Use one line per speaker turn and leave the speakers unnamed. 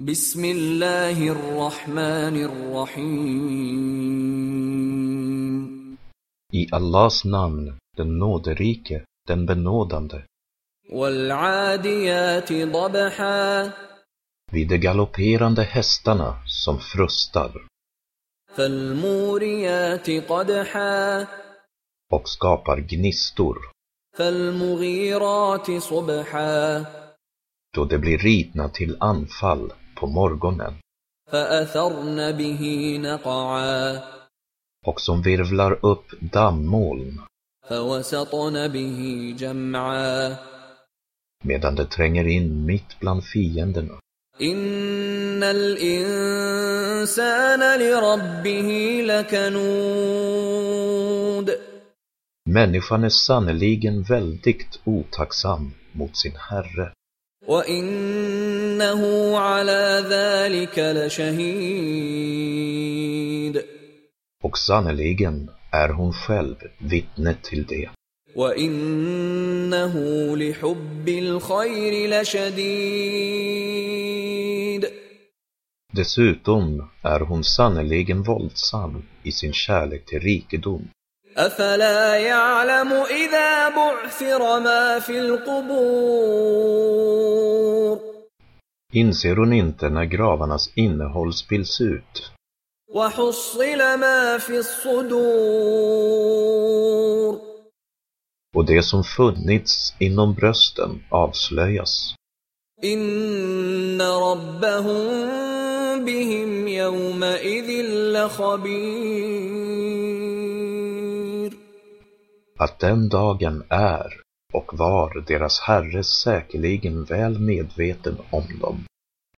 بسم الله الرحمن الرحيم
I Allahs namn, den nåderike, den benådande.
والعاديات ضبحا
Vid de galopperande hästarna som frustar
فالموريات قدحا
och skapar gnistor,
فالمغيرات صبحا
då de blir ridna till anfall på morgonen
فأثرن به نقعا
och som virvlar upp dammoln
فوسطن به جمعا
medan de tränger in mitt bland fienderna.
إن الإنسان لربه لكنود
Människan är sannerligen väldigt otacksam mot sin Herre
وإنه على ذلك لشهيد
och sannerligen är hon själv vittne till det.
وإنه لحب الخير لشديد
Dessutom är hon sannerligen våldsam i sin kärlek till rikedom.
أفلا يعلم إذا بعثر ما في القبور
Inser hon inte när gravarnas innehåll spills ut
وحصل ما في الصدور
och det som funnits inom brösten avslöjas.
إن ربهم بهم يومئذ لخبير
Att den dagen är och var deras Herre säkerligen väl medveten om dem.